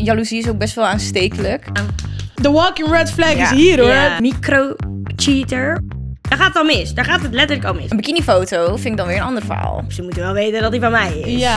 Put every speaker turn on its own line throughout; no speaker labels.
jaloezie is ook best wel aanstekelijk.
De walking red flag
Ja.
is hier hoor.
Ja.
Micro-cheater. Daar gaat het al mis. Daar gaat het letterlijk al mis.
Een bikinifoto vind ik dan weer een ander verhaal.
Ze moeten wel weten dat die van mij is.
Ja.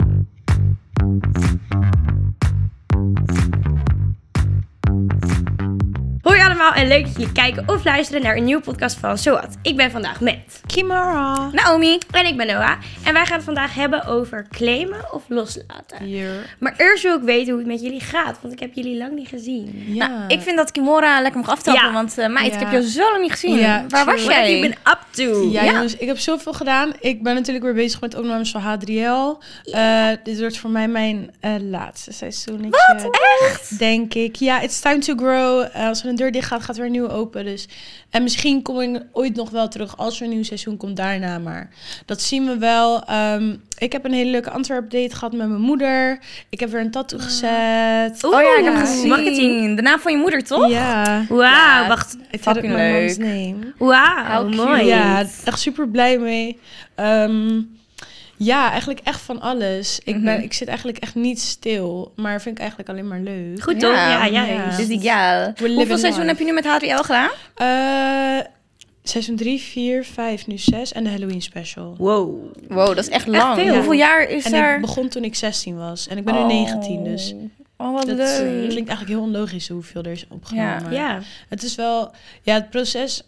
Hoi allemaal en leuk dat jullie kijken of luisteren naar een nieuwe podcast van Zoat. Ik ben vandaag met.
Kimara.
Naomi,
En ik ben Noah. En wij gaan het vandaag hebben over claimen of loslaten.
Hier.
Maar eerst wil ik weten hoe het met jullie gaat, want ik heb jullie lang niet gezien.
Ja.
Nou, ik vind dat Kimora lekker mag aftrappen,
Ja.
want eh meid,
Ja.
ik heb jou zo lang niet gezien.
Ja,
Waar
true.
was
What
jij?
Ik ben up to.
ja,
ja.
jongens, ik heb zoveel gedaan. Ik ben natuurlijk weer bezig met opnames van H3L. Eh, dit wordt voor mij mijn eh, laatste seizoen. Wat? Echt? Denk ik. Ja, it's time to grow. Eh, als er een deur dicht gaat, gaat er weer een nieuwe open. Dus. En misschien kom ik ooit nog wel terug als er een nieuw seizoen komt daarna. Maar dat zien we wel. Ehm, ik heb een hele leuke Antwerp-date gehad met mijn moeder. Ik heb weer een tattoo gezet.
Ah. Oh ja, ik heb
Ja.
hem gezien.
Mag ik het zien?
De naam van je moeder, toch?
Ja.
Wauw,
Ja.
wacht.
Ik had ook
Fucking
mijn mom's
leuk.
name.
Wauw,
How
mooi.
cute.
Ja, echt super blij mee. Ehm, ja, eigenlijk echt van alles. Ik, ben,
Mhm.
ik zit eigenlijk echt niet stil, maar vind ik eigenlijk alleen maar leuk.
Goed toch?
Ja,
Ja, ja.
ja.
juist.
Dus die ja. Hoeveel
living
seizoen
life.
heb je nu met HDL gedaan?
Eh, seizoen 3, 4, 5, nu 6 en de Halloween special.
Wow.
Wow, dat is echt lang.
veel.
Hoeveel jaar is
En
daar?
ik begon toen ik 16 was en ik ben nu 19, dus
Oh, wat
dat eh,
leuk.
klinkt eigenlijk heel onlogisch hoeveel er is opgenomen.
Ja.
maar
Ja.
Het is wel, ja, het proces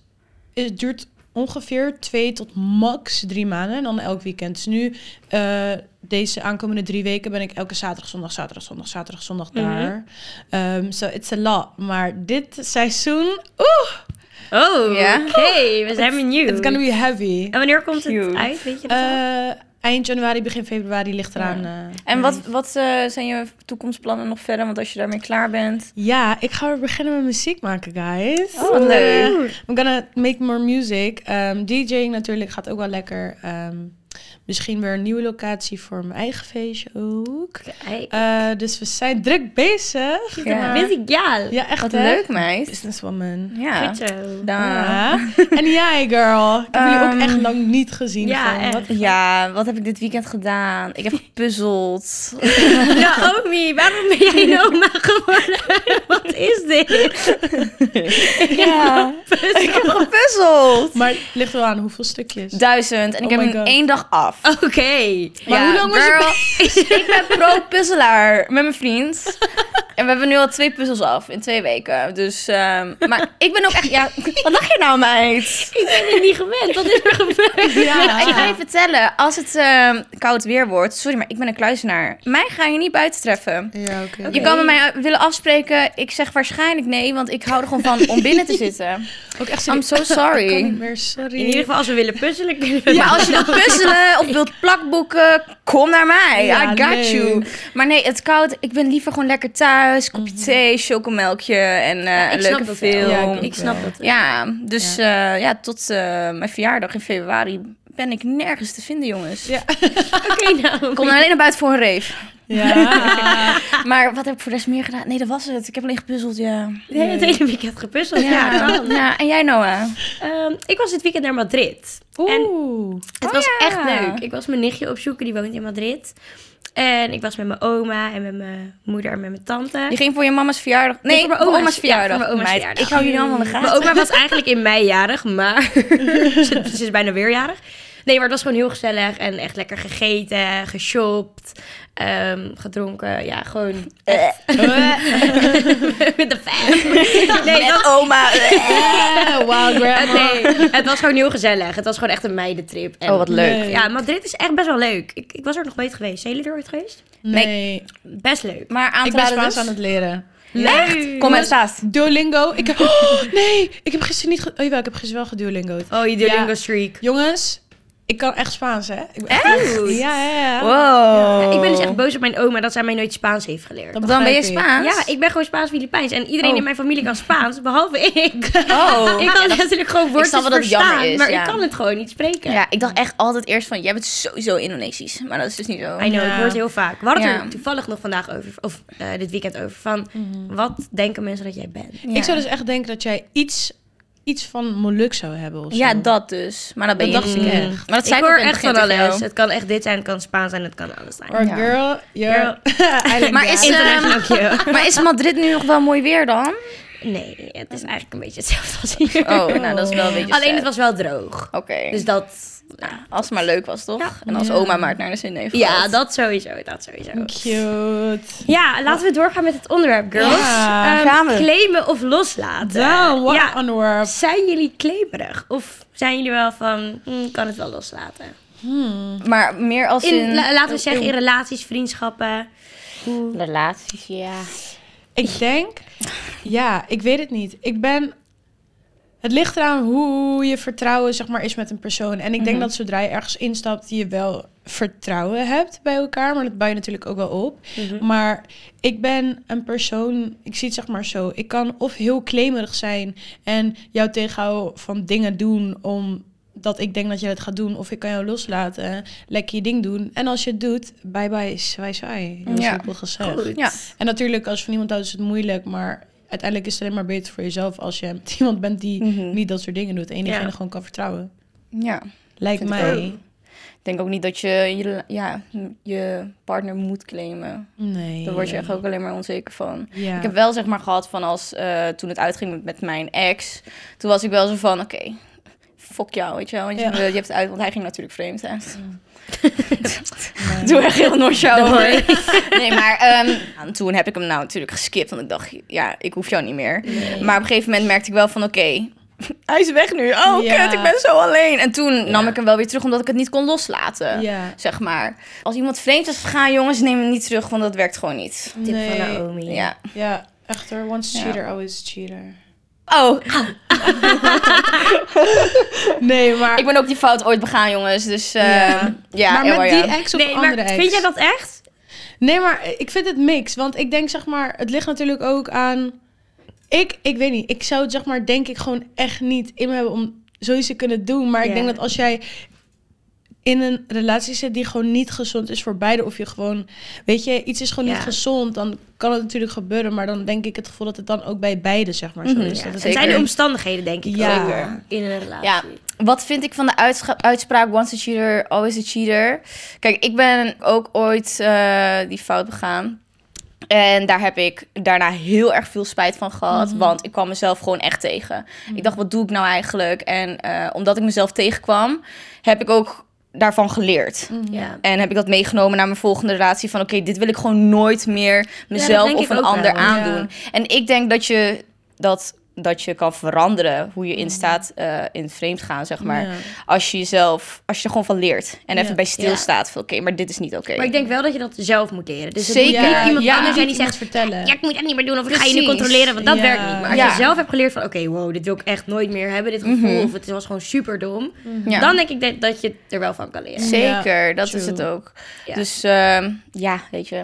is, duurt ongeveer twee tot max drie maanden en dan elk weekend. Dus nu, eh, deze aankomende drie weken ben ik elke zaterdag, zondag, zaterdag, zondag, zaterdag, zondag daar. Ehm so it's a lot. Maar dit seizoen, oeh,
Oh,
Ja.
oké. We zijn benieuwd.
it's gonna be heavy.
En wanneer komt het
Cute.
uit? Weet je dat al?
Eh, eind januari, begin februari ligt eraan. eh,
En wat, wat eh, zijn je toekomstplannen nog verder? Want als je daarmee klaar bent.
Ja, ik ga weer beginnen met muziek maken, guys.
Oh, wat leuk.
Eh, I'm gonna make more music. Ehm DJing natuurlijk gaat ook wel lekker. Ehm, misschien weer een nieuwe locatie voor mijn eigen feestje ook.
Hey,
Eh, dus we zijn druk bezig.
eh,
Ja.
Maar-
Busy gal.
Ja, echt
Wat
hè?
leuk, meid.
Businesswoman.
Ja.
Goed zo.
Daar.
Ja. En jij, girl. Ik heb jullie ook
Ehm,
echt lang niet gezien.
ja,
gewoon. Wat-
Ja, wat heb ik dit weekend gedaan? Ik heb gepuzzeld.
Naomi, waarom ben jij Noma geworden? Wat is dit?
Ja, ik heb gepuzzeld.
Maar het ligt wel aan hoeveel stukjes.
Duizend. En ik
Oh
heb
my
hem
God. Oh,
één dag af.
Oké.
maar hoe lang was je
je Ik ben pro-puzzelaar met mijn vriend. En we hebben nu al twee puzzels af in twee weken. Dus, ehm, maar ik ben ook echt... Ja, wat lach je nou, meid?
Ik ben het niet gewend. Wat is er gebeurd?
Ja.
Ik ga je vertellen, als het ehm, koud weer wordt... Sorry, maar ik ben een kluizenaar. Mij ga je niet buiten treffen.
Ja, oké.
Je kan met mij eh, willen afspreken. Ik zeg waarschijnlijk nee, want ik hou er gewoon van om binnen te zitten.
Ook echt
I'm
Ik
so
kan niet
sorry.
meer, sorry.
In ieder geval, als we willen puzzelen, kunnen we
Maar als je wilt puzzelen of wilt plakboeken, kom naar mij.
Ja,
I got
leuk.
you. Maar nee, het koud. Ik ben liever gewoon lekker thuis. Kopje
Mhm.
thee, chocomelkje en eh, een
Ik snap
leuke
dat
film.
wel.
Ja,
Ja,
ik snap dat.
dus eh, ja, tot eh, mijn verjaardag in februari ben ik nergens te vinden, jongens.
Ja.
Oké, nou.
Ik kom alleen naar buiten voor een rave.
Ja.
Maar wat heb ik voor de rest meer gedaan? Nee, dat was het. Ik heb alleen gepuzzeld, ja.
Nee, het hele weekend gepuzzeld. Ja,
Ja,
kan.
ja. en jij, Noah?
Ehm, ik was dit weekend naar Madrid. En
Oeh.
Oh
het was echt leuk. Ik was mijn nichtje opzoeken, die woont in Madrid. En ik was met mijn oma en met mijn moeder en met mijn tante.
Je ging voor je mama's verjaardag. Nee,
voor mijn
voor
oma's-
oma's
ja,
verjaardag.
voor mijn oma's
Meid,
verjaardag.
Ik hou jullie allemaal in de gaten.
Mijn oma was eigenlijk in mei jarig, maar ze, ze is bijna weer jarig. Nee, maar het was gewoon heel gezellig en echt lekker gegeten, geshopt, ehm, gedronken. Ja, gewoon echt met de fan. Nee, dat-
oma.
Eh, wow, grandma.
nee, het was gewoon heel gezellig. Het was gewoon echt een meidentrip. En,
Oh, wat leuk.
Nee.
Ja, Madrid is echt best wel leuk. Ik, ik was er nog nooit geweest. Zijn jullie er ooit geweest?
Nee.
Best leuk.
Maar aan
Ik
te
ben
raden
Spaans
dus?
aan het leren.
Echt? Kom en
dus
staat.
Duolingo. Ik heb... Oh, nee, ik heb gisteren niet... Ge... Oh jawel, ik heb gisteren wel geduolingo'd.
Oh, je Duolingo
Ja.
streak.
Jongens, ik kan echt Spaans, hè? Ik ben
Echt?
Ja, ja, ja.
Wow.
Ik ben dus echt boos op mijn oma dat zij mij nooit Spaans heeft geleerd.
Dat
Dan ben je
begrijp ik.
Spaans?
Ja, ik ben gewoon Spaans-Filipijns. En iedereen
Oh.
in mijn familie kan Spaans, behalve ik.
Oh.
ik kan natuurlijk gewoon woordjes
snap wel dat het
verstaan,
jammer is,
maar
ja.
ik kan het gewoon niet spreken.
Ja, ik dacht echt altijd eerst van, jij bent sowieso Indonesisch. Maar dat is dus niet zo.
I know,
Ja.
ik hoor het heel vaak. We hadden het
Ja.
er toevallig nog vandaag over, of eh,
Mhm.
dit weekend over, van wat denken mensen dat jij bent?
Ja.
Ik zou dus echt denken dat jij iets, iets van Moluk zou hebben of zo.
Ja, dat dus. Maar dat ben
Dat
je
dacht
niet.
ik echt.
Maar dat
Ik
zei ik,
hoor
ook in het
echt van
begin tegen
alles.
jou.
Het kan echt dit zijn, het kan Spaans zijn, het kan alles zijn.
Or
Mm. Ja.
girl, you're... I like
Maar
that.
is, ehm, maar is Madrid nu nog wel mooi weer dan?
Nee, het is eigenlijk een beetje hetzelfde als hier.
Oh, nou dat is wel een beetje
Alleen
sad.
het was wel droog.
Oké, Ah,
Dus dat... nou,
als het maar leuk was toch?
Ja.
En als
Ja.
oma maar het naar de zin heeft
ja,
gehad.
dat sowieso, dat sowieso.
Cute.
Ja, laten we doorgaan met het onderwerp, girls.
Ja,
Ehm,
gaan we.
Claimen of loslaten.
Dan, what
ja,
an onderwerp.
zijn jullie claimerig? Of zijn jullie wel van, hm, kan het wel loslaten?
Hmm.
Maar meer als in...
In, la- laten we zeggen, in relaties, vriendschappen. Hoe-
Relaties, ja.
Ik denk... Ja, ik weet het niet. Ik ben... Het ligt eraan hoe je vertrouwen zeg maar, is met een persoon. En ik denk
Mhm.
dat zodra je ergens instapt, je wel vertrouwen hebt bij elkaar. Maar dat bouw je natuurlijk ook wel op.
Mhm.
Maar ik ben een persoon, ik zie het zeg maar zo. Ik kan of heel claimerig zijn en jou tegenhouden van dingen doen omdat ik denk dat jij het gaat doen. Of ik kan jou loslaten, lekker je ding doen. En als je het doet, bye bye, zwaai zwaai. Heel
Ja.
simpel gezegd.
Goed.
Ja.
En natuurlijk, als je van iemand houdt, is het moeilijk. Maar uiteindelijk is het alleen maar beter voor jezelf als je met iemand bent die
Mhm.
niet dat soort dingen doet. En je diegene
Ja.
gewoon kan vertrouwen.
Ja.
Lijkt
Vind ik
mij.
Ik denk ook niet dat je je, ja, je partner moet claimen.
Nee.
Daar word je echt ook alleen maar onzeker van.
Ja.
Ik heb wel zeg maar gehad van als eh, toen het uitging met, met mijn ex. Toen was ik wel zo van, oké, fuck jou, weet je wel. Want je,
Ja.
je hebt het uit, want hij ging natuurlijk vreemd. Hè?
Nee.
Doe echt heel Norshow
Door.
over. Nee, maar ehm, en toen heb ik hem nou natuurlijk geskipt. Want ik dacht, ja, ik hoef jou niet meer. Maar op een gegeven moment merkte ik wel van, oké, hij is weg nu. Oh,
Ja.
kut, ik ben zo alleen. En toen nam ik hem wel weer terug, omdat ik het niet kon loslaten.
Ja.
Zeg maar. Als iemand vreemd is gegaan, jongens, neem hem niet terug, want dat werkt gewoon niet.
Tip
Nee.
van Naomi.
Ja.
Ja, echter. Once
Ja.
cheater, always cheater.
Oh,
Nee, maar...
ik ben ook die fout ooit begaan, jongens. Dus eh,
Ja.
ja,
maar
heel
met
ja.
die ex of
Nee,
andere
maar
ex?
vind jij dat echt?
Nee, maar ik vind het mix. Want ik denk, zeg maar, het ligt natuurlijk ook aan... Ik, ik weet niet. Ik zou het, zeg maar, denk ik gewoon echt niet in me hebben om zoiets te kunnen doen. Maar ik
Ja.
denk dat als jij in een relatie zit die gewoon niet gezond is voor beide... of je gewoon, weet je, iets is gewoon
Ja.
niet gezond... dan kan het natuurlijk gebeuren. Maar dan denk ik het gevoel dat het dan ook bij beide, zeg maar, zo
Mhm,
is.
Ja,
Dat
het
het-
zeker.
zijn de omstandigheden, denk ik.
Ja.
ook, In een relatie.
Ja. Wat vind ik van de uitscha- uitspraak once a cheater, always a cheater? Kijk, ik ben ook ooit eh, die fout begaan. En daar heb ik daarna heel erg veel spijt van gehad. Want ik kwam mezelf gewoon echt tegen. Ik dacht, wat doe ik nou eigenlijk? En eh, omdat ik mezelf tegenkwam, heb ik ook daarvan geleerd.
Ja.
En heb ik dat meegenomen naar mijn volgende relatie. Van oké, dit wil ik gewoon nooit meer
dat
mezelf
denk
of
ik
een
ook
ander
wel,
aandoen. En ik denk dat je dat, dat je kan veranderen hoe je
Mm.
in staat eh, in vreemd gaan, zeg maar.
Ja.
Als je jezelf, als je er gewoon van leert en
Ja.
even bij stilstaat van oké, maar dit is niet oké.
Maar ik denk wel dat je dat zelf moet leren. Dus
Zeker.
Het moet niet
Ja,
iemand
ja.
anders
jij
zijn die zegt...
vertellen.
Ja, ik moet dat niet meer doen. Of ik ga je nu
Precies.
controleren, want dat
Ja.
werkt niet. Maar als
Ja.
je zelf hebt geleerd van... Oké, wow, dit wil ik echt nooit meer hebben, dit gevoel.
Mhm.
Of het was gewoon super dom.
Ja.
Dan denk ik dat, dat je er wel van kan leren.
Zeker,
Ja,
dat
true.
is het ook.
Ja.
Dus ehm, ja, weet je.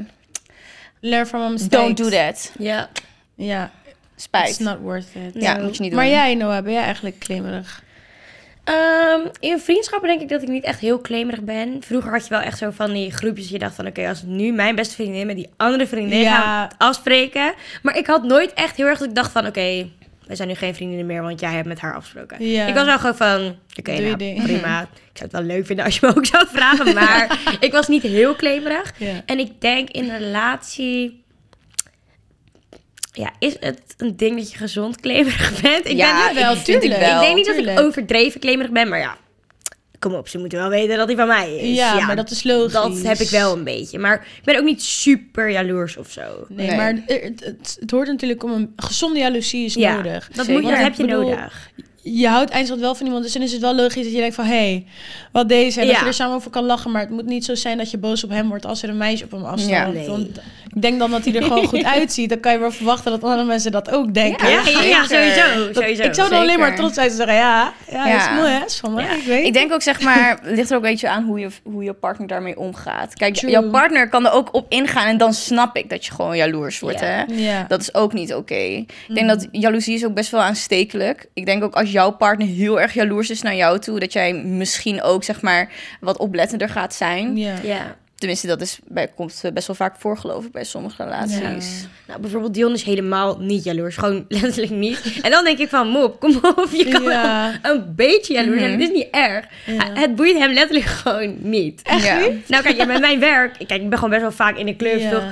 Learn from my mistakes.
Don't do that.
Ja.
Ja, it's
Spijt.
not worth it.
Ja,
No.
moet je niet doen.
Maar jij, Noah, ben jij eigenlijk klimmerig?
Ehm, in vriendschappen denk ik dat ik niet echt heel claimerig ben. Vroeger had je wel echt zo van die groepjes dat je dacht van... Oké, als nu mijn beste vriendin met die andere vriendin
Ja.
gaat afspreken. Maar ik had nooit echt heel erg dat ik dacht van... Oké, wij zijn nu geen vriendinnen meer, want jij hebt met haar afgesproken.
Ja.
Ik was wel gewoon van... Oké,
Doe je
nou,
ding.
prima. Ik zou het wel leuk vinden als je me ook zou vragen. Maar ik was niet heel claimerig.
Ja.
En ik denk in een relatie... Ja, is het een ding dat je gezond claimerig bent? Ik ben
Ja,
niet
ik wel, vind ik
tuurlijk.
wel.
ik denk niet dat
Tuurlijk.
ik overdreven claimerig ben, maar ja. Kom op, ze moeten wel weten dat hij van mij is.
Ja, maar dat is logisch.
dat heb ik wel een beetje. Maar ik ben ook niet super jaloers of zo.
Nee,
Nee.
maar het, het, het hoort natuurlijk om een gezonde jaloezie is
ja,
nodig.
Dat,
Zeker.
moet, dat
Want
heb je
ik bedoel,
nodig.
Je houdt eindstand wel van iemand, dus dan is het wel logisch dat je denkt van... hé, hey, wat deze. En dat
Ja.
je er samen over kan lachen. Maar het moet niet zo zijn dat je boos op hem wordt als er een meisje op hem afstapt.
Ja.
Nee.
Want ik denk dan dat hij er gewoon goed uitziet. Dan kan je wel verwachten dat andere mensen dat ook denken.
Ja, ja, ja,
zeker.
sowieso.
Dat-
sowieso.
ik zou dan alleen
zeker.
maar trots zijn en zeggen... ja, ja,
Ja.
is mooi hè, is van mij,
Ja.
ik weet.
Ik denk ook, zeg maar, het ligt er ook een beetje aan hoe je, hoe je partner daarmee omgaat. Kijk,
True.
jouw partner kan er ook op ingaan en dan snap ik dat je gewoon jaloers wordt,
Ja.
hè?
ja.
Dat is ook niet oké. Ik denk dat jaloezie is ook best wel aanstekelijk. Ik denk ook als jouw partner heel erg jaloers is naar jou toe, dat jij misschien ook, zeg maar, wat oplettender gaat zijn.
ja.
Ja.
Tenminste, dat is, bij- komt eh, best wel vaak voor, geloof ik, bij sommige relaties.
Nou, bijvoorbeeld Dion is helemaal niet jaloers. Gewoon letterlijk niet. En dan denk ik van, mop, kom op. Je kan wel
Ja. Mhm.
een beetje jaloers zijn. Het is niet erg. Het boeit hem letterlijk gewoon niet.
Echt ja.
Nou kijk, ja, met mijn werk... Kijk, ik ben gewoon best wel vaak in de club,
Ja.
toch?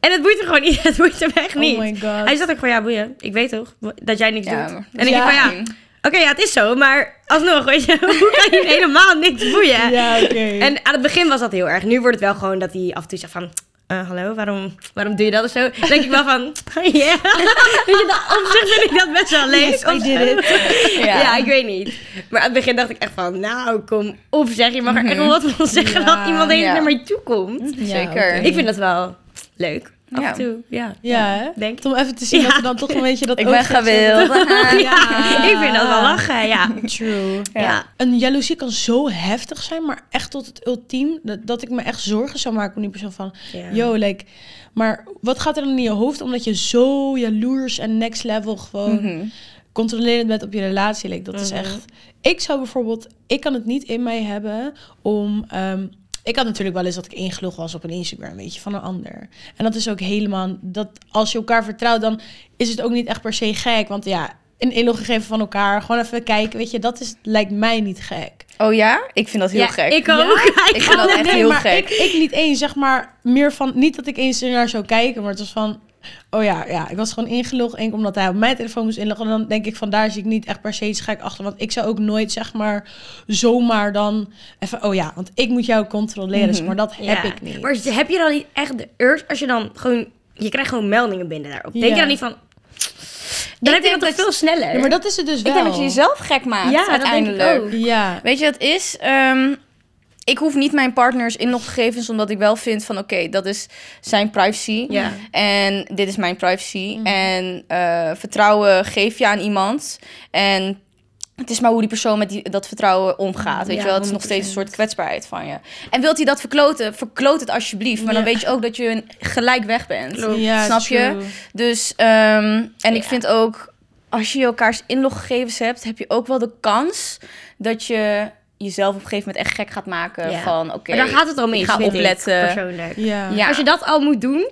En het boeit hem gewoon niet. Het boeit hem echt niet.
Oh my god.
Hij zat ook van, ja, boeien. Ik weet toch dat jij niks
Ja,
doet.
maar-
En ik denk van, ja, oké, ja, het is zo. Maar alsnog, weet je, hoe kan je helemaal niks boeien?
Ja, oké.
En aan het begin was dat heel erg. Nu wordt het wel gewoon dat hij af en toe zegt van... eh, hallo, waarom, waarom doe je dat of zo? Dan denk ik wel van, ja. Weet je, dat- op zich vind ik dat best wel leuk.
Yes, I
Of-
did it.
ja.
Ja.
ik weet niet. Maar aan het begin dacht ik echt van, nou, kom op zeg. Je mag er echt wel wat van zeggen
Mm. Ja, Mm.
dat iemand de hele
ja.
tijd naar mij toe komt.
Zeker.
oké.
Ik vind dat wel leuk. Af
Ja.
en toe, ja.
Ja, hè?
Denk ik.
Om even te zien
Ja.
dat we dan toch een beetje dat
Ik ben
oogje hebben.
gewild.
Ja.
ik vind dat wel lachen, ja.
True.
Ja. Ja.
Een jaloezie kan zo heftig zijn, maar echt tot het ultiem. Dat, dat ik me echt zorgen zou maken om die persoon van...
Ja.
Yo, like... Maar wat gaat er dan in je hoofd omdat je zo jaloers en next level gewoon controlerend bent op je relatie? Like, dat is echt... Ik zou bijvoorbeeld... Ik kan het niet in mij hebben om... ehm, ik had natuurlijk wel eens dat ik ingelogd was op een Instagram, weet je, van een ander. En dat is ook helemaal... Dat als je elkaar vertrouwt, dan is het ook niet echt per se gek. Want ja, een inloggegeven van elkaar, gewoon even kijken, weet je. Dat is, lijkt mij niet gek.
Oh ja? Ik vind dat heel
Ja,
gek.
Ik ook.
Ik vind dat echt
Nee,
heel
maar
gek.
Ik, ik niet eens, zeg maar, meer van... Niet dat ik eens ernaar zou kijken, maar het was van... Oh ja, ja, ik was gewoon ingelogd. Enkel omdat hij op mijn telefoon moest inloggen. En dan denk ik van, daar zie ik niet echt per se iets gek achter. Want ik zou ook nooit, zeg maar, zomaar dan... Even, oh ja, want ik moet jou controleren. zeg maar dat heb
Ja.
ik niet.
Maar heb je dan niet echt de urge als je dan gewoon... Je krijgt gewoon meldingen binnen daarop. Denk
Ja.
je dan niet van... Dan heb je
denk
dat,
dat-
veel sneller.
Ja, maar dat is het dus wel.
Ik denk dat je jezelf gek maakt,
Ja, dat denk ik
uiteindelijk.
ook.
Ja.
Weet je wat het is? Ehm, ik hoef niet mijn partners inloggegevens, omdat ik wel vind van... oké, dat is zijn privacy.
Ja. Mhm.
En dit is mijn privacy. En eh, vertrouwen geef je aan iemand. En het is maar hoe die persoon met die, dat vertrouwen omgaat. Weet
Ja,
je wel? Het is nog steeds een
100%.
soort kwetsbaarheid van je. En wilt hij dat verkloten? Verkloot het alsjeblieft. Maar dan
Ja.
weet je ook dat je een gelijk weg bent.
Klopt.
Ja,
Snap je?
true.
Dus, ehm, en ik
Ja.
vind ook, als je elkaars inloggegevens hebt, heb je ook wel de kans dat je jezelf op een gegeven moment echt gek gaat maken
Ja.
van, oké,
Maar daar gaat het al
ik
mee.
ga opletten.
persoonlijk.
Ja.
Ja.
Als je dat al moet doen,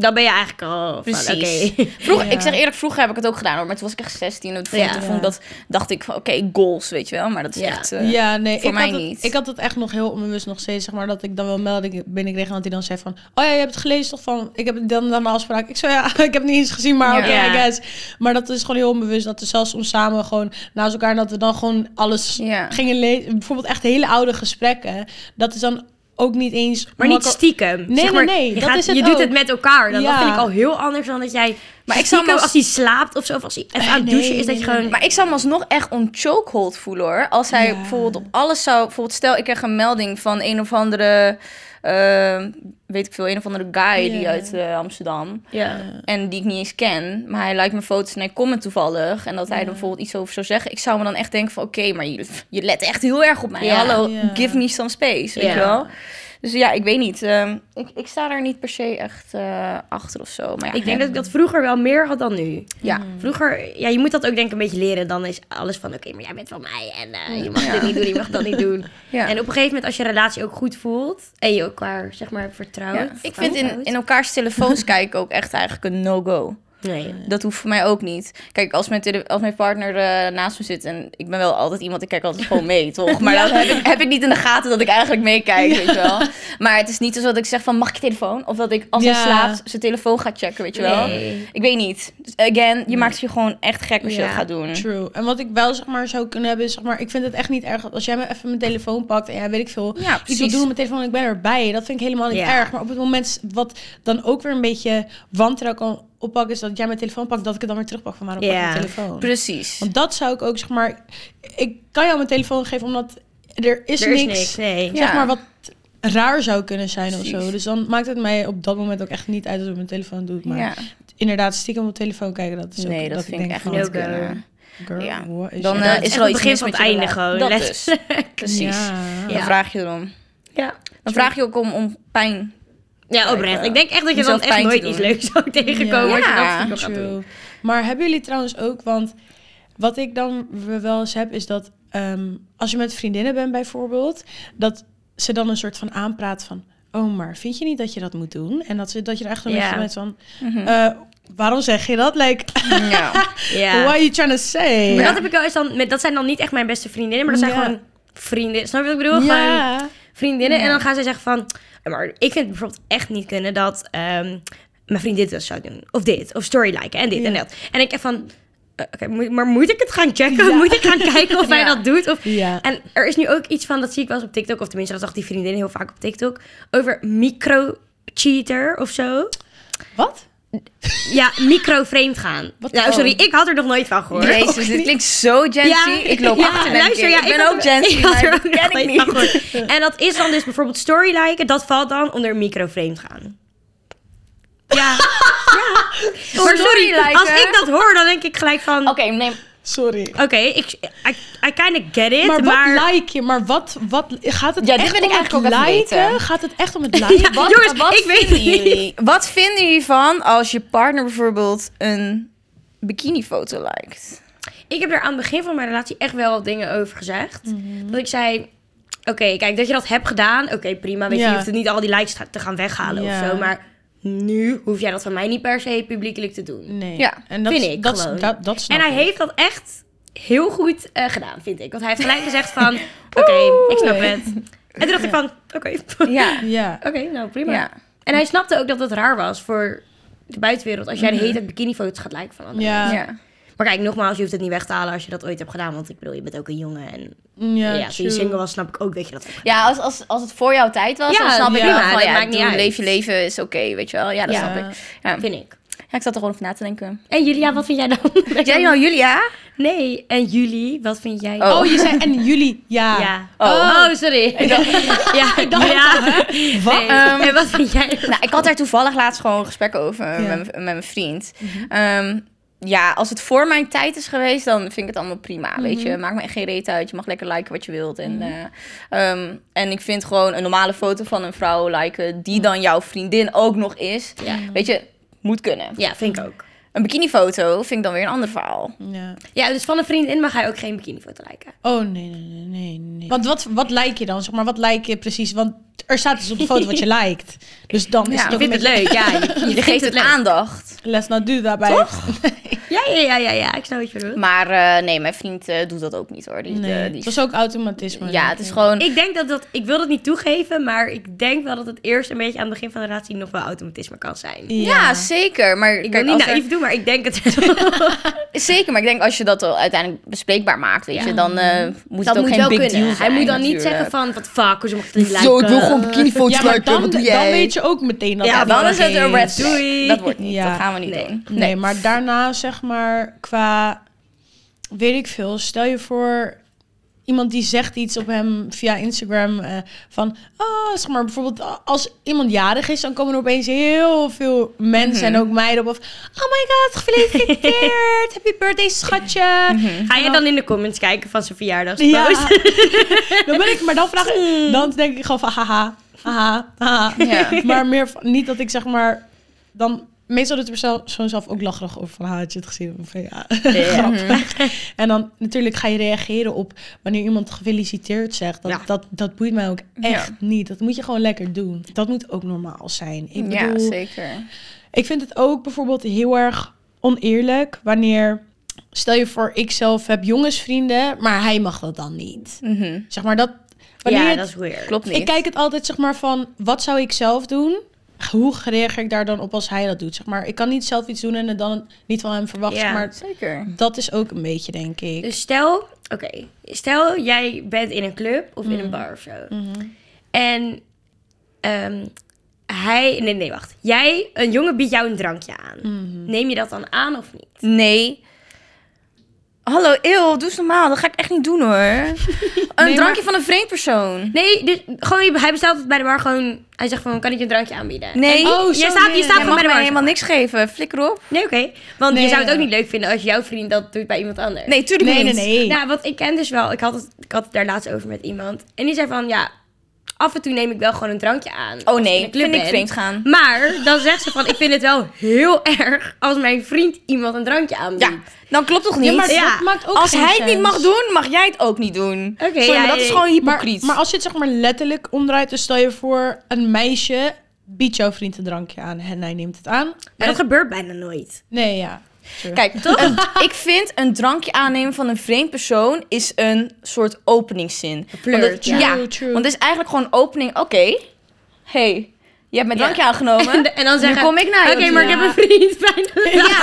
dan ben je eigenlijk al van,
Precies.
oké.
Vroeg,
Ja.
Ik zeg eerlijk, vroeger heb ik het ook gedaan hoor, maar toen was ik echt 16 en toen,
Ja.
toen
Ja.
vond ik dat, dacht ik van, oké, goals, weet je wel, maar dat is
Ja.
echt... eh,
Ja, nee,
voor
ik,
mij
had
niet.
Het, ik had het echt nog heel onbewust nog steeds, zeg maar, dat ik dan wel melding binnenkreeg en dat hij dan zei van, oh ja, je hebt het gelezen toch van, ik heb dan dan een afspraak. Ik zei ja, ik heb het niet eens gezien, maar
Ja.
oké,
Ja.
I guess. Maar dat is gewoon heel onbewust, dat we zelfs soms samen gewoon naast elkaar, dat we dan gewoon alles
Ja.
gingen lezen. Bijvoorbeeld echt hele oude gesprekken, dat is dan ook niet eens...
Maar niet
makkel-
stiekem.
Nee,
Zeg maar,
nee, nee,
Je,
dat is het
je doet
ook.
het met elkaar. Dan,
Ja.
Dat vind ik al heel anders dan dat jij... Maar
Maar
ik
ik zou hem als-
als hij slaapt of zo, of als hij even
Eh,
aan het
nee,
douchen is, dat
nee,
je gewoon...
Maar ik zou hem alsnog echt on chokehold voelen hoor. Als hij
Ja.
bijvoorbeeld op alles zou. Bijvoorbeeld, stel ik krijg een melding van een of andere. eh, weet ik veel, een of andere guy die
Ja.
uit eh, Amsterdam.
Ja.
En die ik niet eens ken. Maar hij lijkt mijn foto's en hij comment toevallig. En dat hij er bijvoorbeeld iets over zou zeggen. Ik zou me dan echt denken van oké, maar je, je let echt heel erg op mij.
Ja.
Hallo,
Ja.
give me some space. Weet
Ja.
je wel? Dus ja, ik weet niet. ehm, ik, ik sta daar niet per se echt eh, achter of zo. Maar ja,
Ik denk dat ik dat vroeger wel meer had dan nu.
Ja.
Vroeger, ja, je moet dat ook denk ik een beetje leren. Dan is alles van, oké, maar jij bent van mij en eh, je mag
Ja.
dit niet doen, je mag dat niet doen.
Ja.
En op een gegeven moment, als je relatie ook goed voelt en je elkaar, zeg maar, vertrouwt.
Ja, ik vind in,
vertrouwt.
in elkaars telefoons kijken ook echt eigenlijk een no-go.
Nee.
Dat hoeft voor mij ook niet. Kijk, als mijn, tele- als mijn partner eh, naast me zit en ik ben wel altijd iemand, ik kijk altijd gewoon mee, toch? Maar dan heb ik, heb ik niet in de gaten dat ik eigenlijk meekijk, weet je wel. Maar het is niet zo dat ik zeg van, mag ik je telefoon? Of dat ik als hij
Ja.
slaapt zijn telefoon ga checken, weet je wel.
Nee.
Ik weet niet. Dus again, je maakt je gewoon echt gek als je
Ja.
dat gaat doen.
True. En wat ik wel zeg maar zou kunnen hebben is zeg maar, ik vind het echt niet erg als jij me even mijn telefoon pakt en ja, weet ik veel,
Ja,
iets wil
precies.
doen met mijn telefoon en ik ben erbij. Dat vind ik helemaal niet
Ja.
erg. Maar op het moment wat dan ook weer een beetje wantrouw kan oppakken is dat jij mijn telefoon pakt, dat ik het dan weer terugpak van waarom pak
Ja.
je mijn telefoon?
Precies.
Want dat zou ik ook zeg maar, ik kan jou mijn telefoon geven omdat er is
Er
niks,
is niks, nee.
zeg
Ja.
maar wat raar zou kunnen zijn of zo.
Precies.
Dus dan maakt het mij op dat moment ook echt niet uit dat ik mijn telefoon doe. Maar
Ja.
inderdaad stiekem op telefoon kijken, dat is ook,
Nee, dat,
ik
vind ik
denk
echt
van,
niet
no-go.
kunnen.
girl,
Ja.
what is
Dan
your
eh,
dat
is
is echt
er al
het
iets
begin
mis
van
met
het
je
einde
relatie.
gewoon,
Dat dus. Precies.
Ja.
Dan
Ja.
vraag je erom.
Ja.
Dan vraag je ook om, om pijn.
Ja, oprecht. Ik denk echt dat je dan
Jezelf
echt
pijn te
nooit
doen.
iets leuks zou tegenkomen.
Ja.
als je dat
Ja,
stiekem gaat doen.
True. Maar hebben jullie trouwens ook, want wat ik dan we- wel eens heb, is dat ehm, als je met vriendinnen bent bijvoorbeeld, dat ze dan een soort van aanpraat van, oh, maar vind je niet dat je dat moet doen? En dat, ze, dat je er echt een
Ja.
beetje bent van,
Mhm.
eh, waarom zeg je dat? Like,
Ja.
Ja.
what are you trying to say?
Maar
Ja.
dat heb ik wel eens dan... met- Dat zijn dan niet echt mijn beste vriendinnen, maar dat zijn
Ja.
gewoon vrienden. Snap je wat ik bedoel? Gewoon
Ja.
vriendinnen. En dan gaan zij zeggen van... "Ja, Maar ik vind het bijvoorbeeld echt niet kunnen dat ehm, mijn vriend dit wel zou doen. Of dit. Of story liken en dit
Ja.
en dat. En ik echt van... eh, Oké, moet- maar moet ik het gaan checken?
Ja.
Moet ik gaan kijken of hij
Ja.
dat doet? Of...
Ja.
En er is nu ook iets van, dat zie ik wel eens op TikTok... of tenminste, dat zag die vriendin heel vaak op TikTok... over micro-cheater of zo.
Wat?
Ja, micro-vreemd gaan.
Wat-
nou,
oh.
sorry, ik had er nog nooit van gehoord.
Jezus, dit klinkt zo Gen Z. ik loop
ja,
achter, denk
luister,
ik.
ja,
ik ben
had
ook
er-
Gen Z,
ik had
maar
er
dat
ook
ken
nog
ik
nooit
niet.
van gehoord. En dat is dan dus bijvoorbeeld storyliken. Dat valt dan onder microframe gaan. Ja. ja. Maar sorry,
Storyliken?
als ik dat hoor, dan denk ik gelijk van...
Oké,
Oké,
neem...
Sorry.
ik, I, I kind of get it,
Maar
maar...
wat like je? Maar wat, wat gaat het
Ja, dit
echt
wil ik
om het
eigenlijk ook even
liken?
weten.
Gaat het echt om het liken?
Ja,
Wat,
jongens,
wat
ik weet
vinden
het niet.
jullie? Wat vinden jullie van als je partner bijvoorbeeld een bikinifoto liked?
Ik heb er aan het begin van mijn relatie echt wel wat dingen over gezegd.
Mhm.
Dat ik zei... Oké, kijk, dat je dat hebt gedaan. Oké, prima. Weet je,
Ja.
je hoeft het niet al die likes te gaan weghalen
Ja.
of zo. Maar nu hoef jij dat van mij niet per se publiekelijk te doen.
Nee.
Ja,
en dat,
vind
is-
ik
dat, is-
gewoon.
dat, dat Mm, snap
En hij
ik.
heeft dat echt heel goed eh, gedaan, vind ik. Want hij heeft gelijk gezegd van, oké, ik snap het. En toen dacht ik van, oké, oké,
Ja.
Ja.
nou prima.
ja.
En hij snapte ook dat het raar was voor de buitenwereld als jij de
Mhm.
hele tijd bikinifoto's gaat lijken van anderen.
Ja. Ja.
ja.
Maar kijk, nogmaals, je hoeft het niet weg te halen als je dat ooit hebt gedaan. Want ik bedoel, je bent ook een jongen. En ja, toen je
true.
single was, snap ik ook dat je dat hebt gedaan.
Ja, als, als, als het voor jouw tijd was,
Ja,
dan snap ik
prima,
wel van,
dat
ja,
maakt niet
doe,
uit.
leef je leven, is oké, weet je wel. Ja, dat
Ja.
snap ik. Ja.
Vind ik.
ja, ik zat er gewoon over na te denken.
En Julia, wat vind jij dan?
Jij nou, Julia?
Nee, en jullie, wat vind jij?
Oh.
Oh, je zei en jullie. Ja.
Ja.
Oh.
Oh, sorry. ja, ja.
Wat?
Nee.
Ehm,
en wat vind jij? ervan?
Nou, ik had daar toevallig laatst gewoon gesprekken over met, mijn- met mijn vriend.
Mhm.
Ehm, ja, als het voor mijn tijd is geweest, dan vind ik het allemaal prima, weet
Mhm.
je. Maakt me echt geen reet uit. Je mag lekker liken wat je wilt. En, eh, ehm, en ik vind gewoon een normale foto van een vrouw liken, die dan jouw vriendin ook nog is.
Mhm. Ja.
Weet je, moet kunnen.
ja, vind ik ook.
Een bikinifoto vind ik dan weer een ander verhaal.
Ja.
Ja, dus van een vriendin mag hij ook geen bikinifoto lijken.
Oh, nee, nee, nee, nee, nee. Want wat, wat like je dan? Zeg maar, wat like je precies? Want er staat dus op de foto wat je liked. Dus dan
Ja,
is het
Je
ook een
vindt het
beetje...
leuk, ja. Je, je
Je geeft het
leuk.
aandacht.
Let's not do that, Toch?
Ja, ja, ja, ja, ja, ik snap wat je bedoelt.
Maar eh, nee, mijn vriend eh, doet dat ook niet hoor. Die,
Nee.
eh, die-
Het was ook automatisme.
ja,
denk
het is
ik.
gewoon.
Ik denk dat dat, ik wil dat niet toegeven, maar ik denk wel dat het eerst een beetje aan het begin van de relatie nog wel automatisme kan zijn.
ja. zeker. Maar
Ik wil
kijk,
niet
als er-
naïef doen, maar ik denk het wel.
zeker, maar ik denk als je dat al uiteindelijk bespreekbaar maakt, weet je, dan eh, moet
Dat
het ook
moet
geen big
wel kunnen.
deal zijn.
hij moet dan niet
natuurlijk.
zeggen van, wat fuck, hoezo mag ik het niet lijken?
bikinifoto's
Eh, Ja, maar dan, dan weet je ook meteen dat
Ja,
het
dan
niet
is het een
oké
red
is.
flag.
Doei.
Dat wordt niet.
Ja.
Dat gaan we niet
Nee.
doen.
Nee, maar daarna zeg maar qua, weet ik veel, stel je voor iemand die zegt iets op hem via Instagram eh, van, oh, zeg maar bijvoorbeeld a- als iemand jarig is, dan komen er opeens heel veel mensen en ook meiden op of, oh my god, gefeliciteerd, happy birthday schatje.
Ga je dan in de comments kijken van zijn verjaardagspost?
Ja, dan ben ik, maar dan vraag ik, dan denk ik gewoon van, haha, haha, haha.
Ja.
Maar meer van, niet dat ik zeg maar, dan, meestal doet de persoon zelf ook lacherig over van, ha, had je het gezien? Van, ja.
Ja.
En dan natuurlijk ga je reageren op wanneer iemand gefeliciteerd zegt. Dat,
Ja.
dat, dat boeit mij ook
Ja.
echt niet. Dat moet je gewoon lekker doen. Dat moet ook normaal zijn. Ik
Ja,
bedoel,
zeker.
ik vind het ook bijvoorbeeld heel erg oneerlijk wanneer... Stel je voor, ik zelf heb jongensvrienden, maar hij mag dat dan niet.
Mhm.
Zeg maar dat... Wanneer
Ja,
het-
dat is weird.
Klopt niet.
ik kijk het altijd zeg maar van, wat zou ik zelf doen? Hoe reageer ik daar dan op als hij dat doet? Zeg maar, ik kan niet zelf iets doen en het dan niet van hem verwachten.
Ja.
Maar
Zeker.
dat is ook een beetje, denk ik.
Dus stel, oké, stel jij bent in een club of
Mhm.
in een bar of zo. En ehm, hij, nee, nee, wacht. Jij, een jongen biedt jou een drankje aan.
Mhm.
Neem je dat dan aan of niet?
Nee. Hallo, eeuw, doe eens normaal. Dat ga ik echt niet doen hoor. Een drankje van een vreemd persoon.
Nee, dus gewoon, je- hij bestelt het bij de bar gewoon. Hij zegt van, kan ik je een drankje aanbieden?
Nee.
En
Oh,
zo,
jij staat,
nee.
je staat
Jij
gewoon
mag
bij de
mij
bar.
helemaal niks geven. Flikker op.
Nee, oké. Want
Nee,
je zou het
ja.
ook niet leuk vinden als jouw vriend dat doet bij iemand anders.
Nee, tuurlijk
Nee,
niet.
nee, nee.
Nou, want ik ken dus wel, ik had, het, ik had het daar laatst over met iemand. En die zei van, ja, af en toe neem ik wel gewoon een drankje aan.
Oh
als in
nee,
de club
vind ik
ben.
vreemd gaan.
Maar dan zegt ze van, ik vind het wel heel erg als mijn vriend iemand een drankje aanbiedt.
Ja, dan klopt toch niet?
Ja, maar
Ja.
dat maakt ook
als
geen
hij het niet
sens.
mag doen, mag jij het ook niet doen.
Oké,
Sorry,
ja,
maar dat
ja,
is
ja.
gewoon
Maar,
hypocriet.
maar als je het zeg maar letterlijk omdraait, dus stel je voor een meisje biedt jouw vriend een drankje aan en hij neemt het aan.
Maar dat gebeurt bijna nooit.
Nee, ja. True.
Kijk, een- ik vind een drankje aannemen van een vreemd persoon is een soort openingszin.
flirt,
Want het-
ja.
ja.
True, true.
Want het is eigenlijk gewoon een opening. Oké, hey, je hebt mijn
Ja.
drankje aangenomen.
En, en dan
Oh, nu
zeggen
kom ik naar je
Oké, maar ik
toe."
heb een vriend bijna. Ja.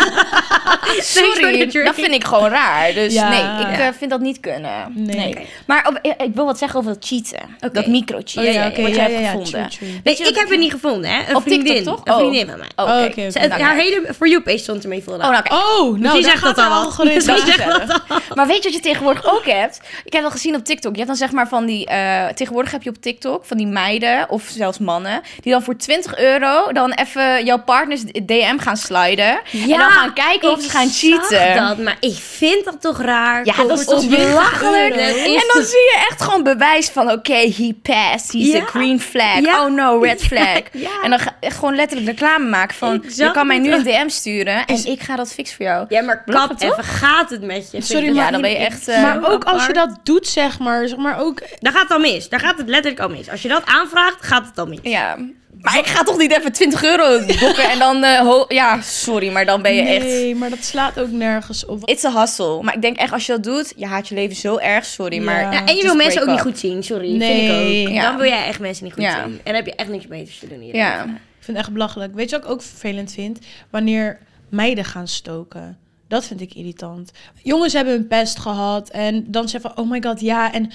for the
Sorry,
drink.
dat vind ik gewoon raar. Dus
Ja.
nee, ik
Ja.
eh, vind dat niet kunnen.
Nee.
Nee.
Oké.
Maar op- eh, ik- ik wil wat zeggen over dat cheaten.
Oké.
Dat micro-cheaten.
Oh ja, oké,
wat
ja,
jij hebt
ja, ja,
gevonden.
true, true.
Nee, ik heb het niet gevonden, hè? Een
Op TikTok,
vriendin.
toch?
Een
Oh.
vriendin van mij.
Oké,
Oh, oké, oké.
Ze- het-
dank
haar
je.
hele For You page stond ermee vol.
Oh, nou kijk.
Oh, nou,
Die
daar
zegt
gaat
dat
haar
al.
algoritme.
Dat
Die
is
zegt
gezellig. Maar weet je wat je tegenwoordig ook hebt? Ik heb dat gezien op TikTok. Je hebt dan zeg maar van die... eh, tegenwoordig heb je op TikTok van die meiden of zelfs mannen... die dan voor 20 euro dan even jouw partners DM gaan sliden. en dan gaan kijken of
ik
ze gaan
zag
cheaten.
dat, maar ik vind dat toch raar.
Ja, dat is
Kom,
toch
op,
belachelijk?
Dat is
En dan zie je echt gewoon bewijs van... oké, he passed, he's
Ja.
a green flag.
Ja.
Oh no, red flag.
ja.
En dan ga- echt gewoon letterlijk reclame maken van...
Ik zag
je kan mij
het
nu een
ook.
DM sturen en ik ga dat fix voor jou.
Ja, maar
Belachelijk,
kap
toch?
even, gaat het met je?
Sorry,
Vind ik
Ja,
maar-
dan ben je
ik-
echt... eh,
maar ook als je
apart.
dat doet, zeg maar, zeg maar ook.
Daar gaat het al mis. Daar gaat het letterlijk al mis. Als je dat aanvraagt, gaat het al mis.
Ja. Maar ik ga toch niet even 20 euro dokken en dan... eh, ho- ja, sorry, maar dan ben je echt...
Nee, maar dat slaat ook nergens op.
It's a hustle. Maar ik denk echt, als je dat doet, je haat je leven zo erg. Sorry,
Ja.
maar...
Ja,
Ja, en je wil
just
mensen ook
break
niet
up.
goed zien, sorry. Vind
Nee.
ik ook.
Ja.
Dan wil jij echt mensen niet goed
Ja.
zien. En dan heb je echt niks beters te doen hier.
Ja.
Ik vind het echt belachelijk. Weet je wat ik ook vervelend vind? Wanneer meiden gaan stoken. Dat vind ik irritant. Jongens hebben een pest gehad en dan zeggen van, oh my god, ja. En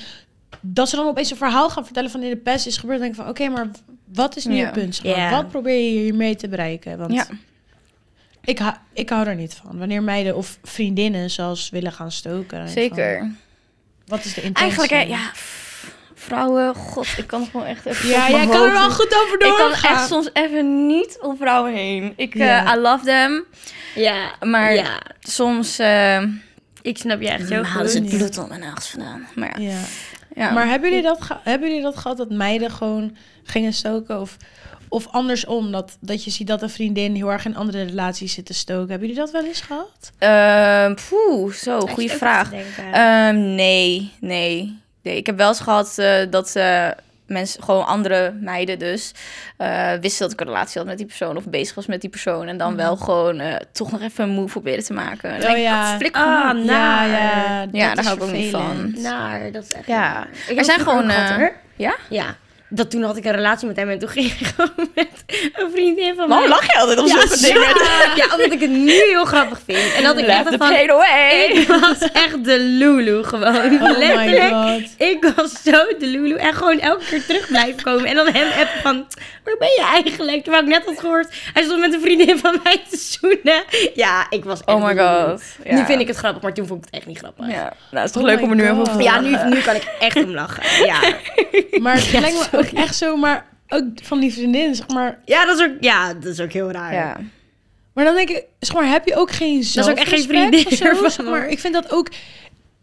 dat ze dan opeens een verhaal gaan vertellen van in de pest is gebeurd. Dan denk ik van, oké, maar wat is nu
Ja.
je punt? zeg maar?
Ja.
Wat probeer je hiermee te bereiken? Want
Ja.
ik, ha- ik hou er niet van. Wanneer meiden of vriendinnen zelfs willen gaan stoken. dan denk ik
Zeker.
van, wat is de intentie?
Eigenlijk, hè, ja... pff, Vrouwen, god, ik kan gewoon echt even...
Ja,
op
jij
mijn
kan er
hoofd
wel
niet-
goed over
Ik
doorgaan.
kan echt soms even niet om vrouwen heen. Ik, eh,
Ja.
I love them.
Ja,
Maar-
ja.
Soms... eh
ik snap je echt heel
halen
goed.
ze het
niet.
bloed op mijn nagels vandaan. Maar ja.
Ja.
ja.
Maar hebben jullie, dat geha- hebben jullie dat gehad dat meiden gewoon gingen stoken? Of, of andersom, dat, dat je ziet dat een vriendin heel erg in andere relaties zit te stoken. Hebben jullie dat wel eens gehad?
Ehm, poeh, zo,
Zit je
goede
ook
vraag.
aan te denken?
Ehm, nee, nee, nee. Ik heb wel eens gehad eh, dat eh, mensen, gewoon andere meiden dus, eh, wisten dat ik een relatie had met die persoon of bezig was met die persoon. En
Mhm.
dan wel gewoon eh, toch nog even een move proberen te maken. En dan
Oh,
denk ik,
ja.
dat flik
Ah,
genoeg.
naar.
ja,
Ja,
dat
daar
is
hou ik ook niet
vervelend.
van.
Naar, dat is echt...
Ja.
Ik
Er
heb
zijn
het
gewoon,
ook gehad,
eh,
hoor.
Ja?
Ja. Dat toen had ik een relatie met hem en toen ging ik gewoon met een vriendin van mij.
Waarom lach je altijd op
ja,
zulke dingen?
ja. Ja, omdat ik het nu heel grappig vind. En dat ik
Laugh
echt
the
van...
pain away.
Ik was echt de Lulu gewoon.
Oh my
Letterlijk.
god.
Ik was zo de Lulu en gewoon elke keer terug blijven komen. En dan hem appen van, waar ben je eigenlijk? Terwijl ik net had gehoord, hij stond met een vriendin van mij te zoenen. Ja, ik was echt
Oh my
de Lulu.
god. Ja.
Nu vind ik het grappig, maar toen vond ik het echt niet grappig. Ja,
Ja, nou, het is toch
Oh
leuk
my
om er nu even
God.
op te
nu,
lachen.
nu kan ik echt om lachen. Ja,
Maar het lijkt me ook echt zo, maar ook van die vriendin, zeg maar.
ja, dat, is ook, ja dat is ook heel raar.
Ja.
Maar dan denk ik, zeg maar, heb je ook geen
is ook echt geen
zelfrespect
vriendin
of zo,
ervan,
zeg maar.
hoor.
Ik vind dat ook,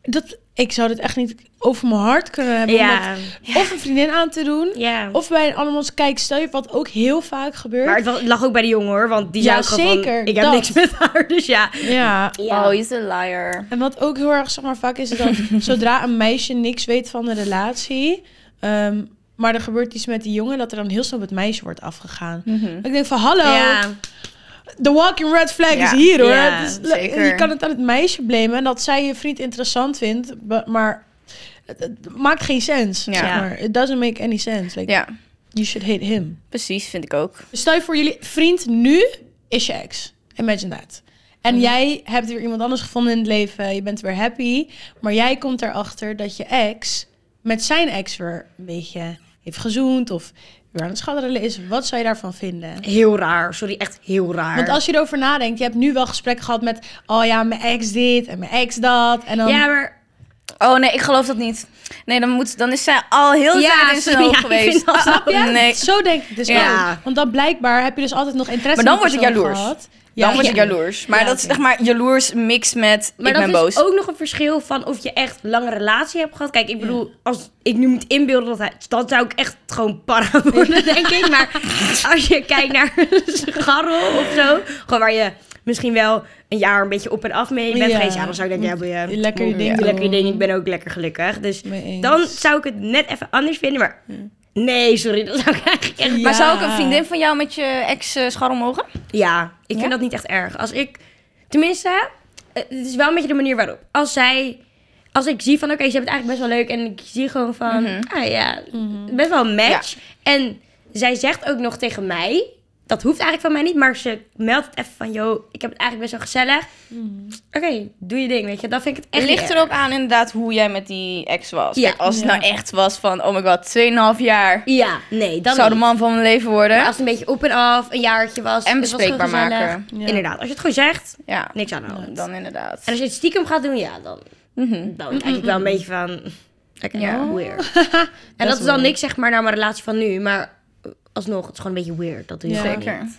dat, ik zou dit echt niet over mijn hart kunnen hebben. om
Ja.
dat Of een vriendin aan te doen,
Ja.
Of bij een andermans kijk, stel je wat ook heel vaak gebeurt.
Maar het was- lag ook bij de jongen hoor, want die
Ja,
zei ook gewoon van,
zeker,
ik heb
dat.
niks met haar, dus ja.
Ja.
Oh, je is een liar.
En wat ook heel erg zeg maar, vaak is, is dat zodra een meisje niks weet van de relatie, ehm, maar er gebeurt iets met die jongen, dat er dan heel snel op het meisje wordt afgegaan.
Mhm.
Ik denk van, hallo,
Ja.
de walking red flag
Ja.
is hier hoor.
Ja,
Het is le-
zeker.
Je kan het aan het meisje blamen en dat zij je vriend interessant vindt, be- maar het, het maakt geen sens.
Ja.
Zeg maar. It doesn't make any sense. Like,
Ja,
You should hate him.
precies, vind ik ook.
Stel je voor, jullie vriend nu is je ex. Imagine that. En
Mhm.
jij hebt weer iemand anders gevonden in het leven. Je bent weer happy. Maar jij komt erachter dat je ex met zijn ex weer een beetje heeft gezoend. Of weer aan het schadderen is. Wat zou je daarvan vinden?
Heel raar, sorry, echt heel raar.
Want als je erover nadenkt, je hebt nu wel gesprekken gehad met... Oh ja, mijn ex dit en mijn ex dat. En dan...
Ja, maar
Oh nee, ik geloof dat niet. Nee, dan, moet, dan is zij al heel de
Ja,
tijd in zijn
sorry,
hoofd
ja, ik
geweest.
vind dat-
Snap je? Nee.
Zo denk ik dus
Ja.
ook. Want dan blijkbaar heb je dus altijd nog interesse
Maar dan
in die
word ik
persoon
jaloers.
gehad.
Dan word
ja.
ik jaloers. Maar
Ja,
dat is
oké.
zeg maar jaloers mixed met
Maar
ik
dat
ben
is
boos.
ook nog een verschil van of je echt een lange relatie hebt gehad. Kijk, ik bedoel, als ik nu moet inbeelden dat hij... Dan zou ik echt gewoon para worden, denk ik. Maar als je kijkt naar een scharrel of zo... Gewoon waar je misschien wel een jaar een beetje op en af mee bent
Ja.
geweest. Ja, dan zou ik denken, ja, wil je...
Lekker je
Ja.
ding
doen.
Lekker je
doen.
ding, ik ben ook lekker gelukkig. Dus
Mee eens.
dan zou ik het net even anders vinden. Maar nee, sorry, dat zou ik eigenlijk echt...
Maar zou ik
Ja.
een vriendin van jou met je ex eh, scharrel mogen?
Ja, ik
Ja?
vind dat niet echt erg. Als ik, tenminste, eh, het is wel een beetje de manier waarop. Als zij, als ik zie van, oké, ze hebben het eigenlijk best wel leuk. En ik zie gewoon van,
Mhm.
ah ja, best wel een match. En zij zegt ook nog tegen mij, dat hoeft eigenlijk van mij niet. Maar ze meldt het even van, yo, ik heb het eigenlijk best wel gezellig. Oké, doe je ding, weet je. Dan vind ik het echt
Het ligt
niet
Mhm. er ook aan inderdaad hoe jij met die ex was.
Ja.
Kijk, als het
Ja.
nou echt was van, oh my god, 2,5 jaar
erg. Ja, nee, dan
zou de
niet.
man van mijn leven
Maar
worden.
als het een beetje op en af, een jaartje was.
En
het was gewoon
bespreekbaar
gezellig.
maken.
Ja.
Inderdaad, als je het gewoon zegt,
Ja,
niks aan de hand.
dan inderdaad.
En als je het stiekem gaat doen, ja, dan, dan kijk ik wel een beetje van... Oké,
Ja.
weird. en Mhm. dat is dan
weird.
niks, zeg maar, naar mijn relatie van nu. Maar eh, alsnog, het is gewoon een beetje weird. Dat doe je
Ja.
gewoon
Zeker.
niet.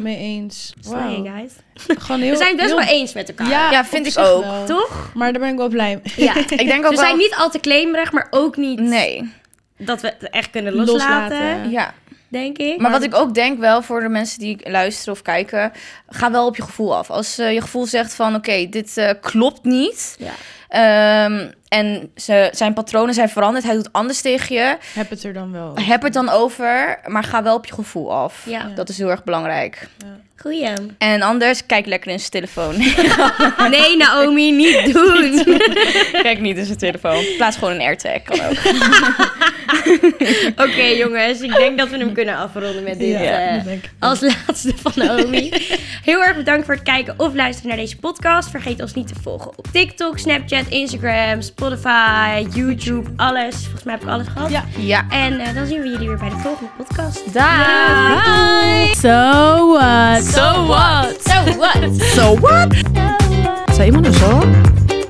Mee eens.
Slay,
Wauw.
guys.
Gewoon heel,
We zijn het best
heel-
wel eens met elkaar.
Ja,
Ja,
op
vind ik
zich
ook,
wel.
Toch?
Maar daar ben ik wel blij mee.
Ja.
Ik denk ook wel...
We zijn niet al te claimerig, maar ook niet
Nee,
dat we het echt kunnen loslaten,
Loslaten.
ja.
denk ik.
Maar wat ik ook denk wel voor de mensen die luisteren of kijken, ga wel op je gevoel af. Als eh, je gevoel zegt van oké, dit eh, klopt niet.
Ja.
ehm, en ze, zijn patronen zijn veranderd, hij doet anders tegen je.
Heb het er dan wel.
Heb het dan over, maar ga wel op je gevoel af.
Ja.
Dat is heel erg belangrijk.
Goeie.
En anders, kijk lekker in zijn telefoon.
Nee, Naomi, niet doen.
kijk niet in zijn telefoon. Plaats gewoon een AirTag. Kan ook.
Oké, jongens. Ik denk dat we hem kunnen afronden met dit. eh,
dat denk ik.
Als laatste van Naomi. Heel erg bedankt voor het kijken of luisteren naar deze podcast. Vergeet ons niet te volgen op TikTok, Snapchat, Instagram, Spotify, YouTube, alles. Volgens mij heb ik alles gehad.
Ja.
Ja.
En eh, dan zien we jullie weer bij de volgende podcast.
Daai.
So what?
So what? So what?
Zou iemand een zo?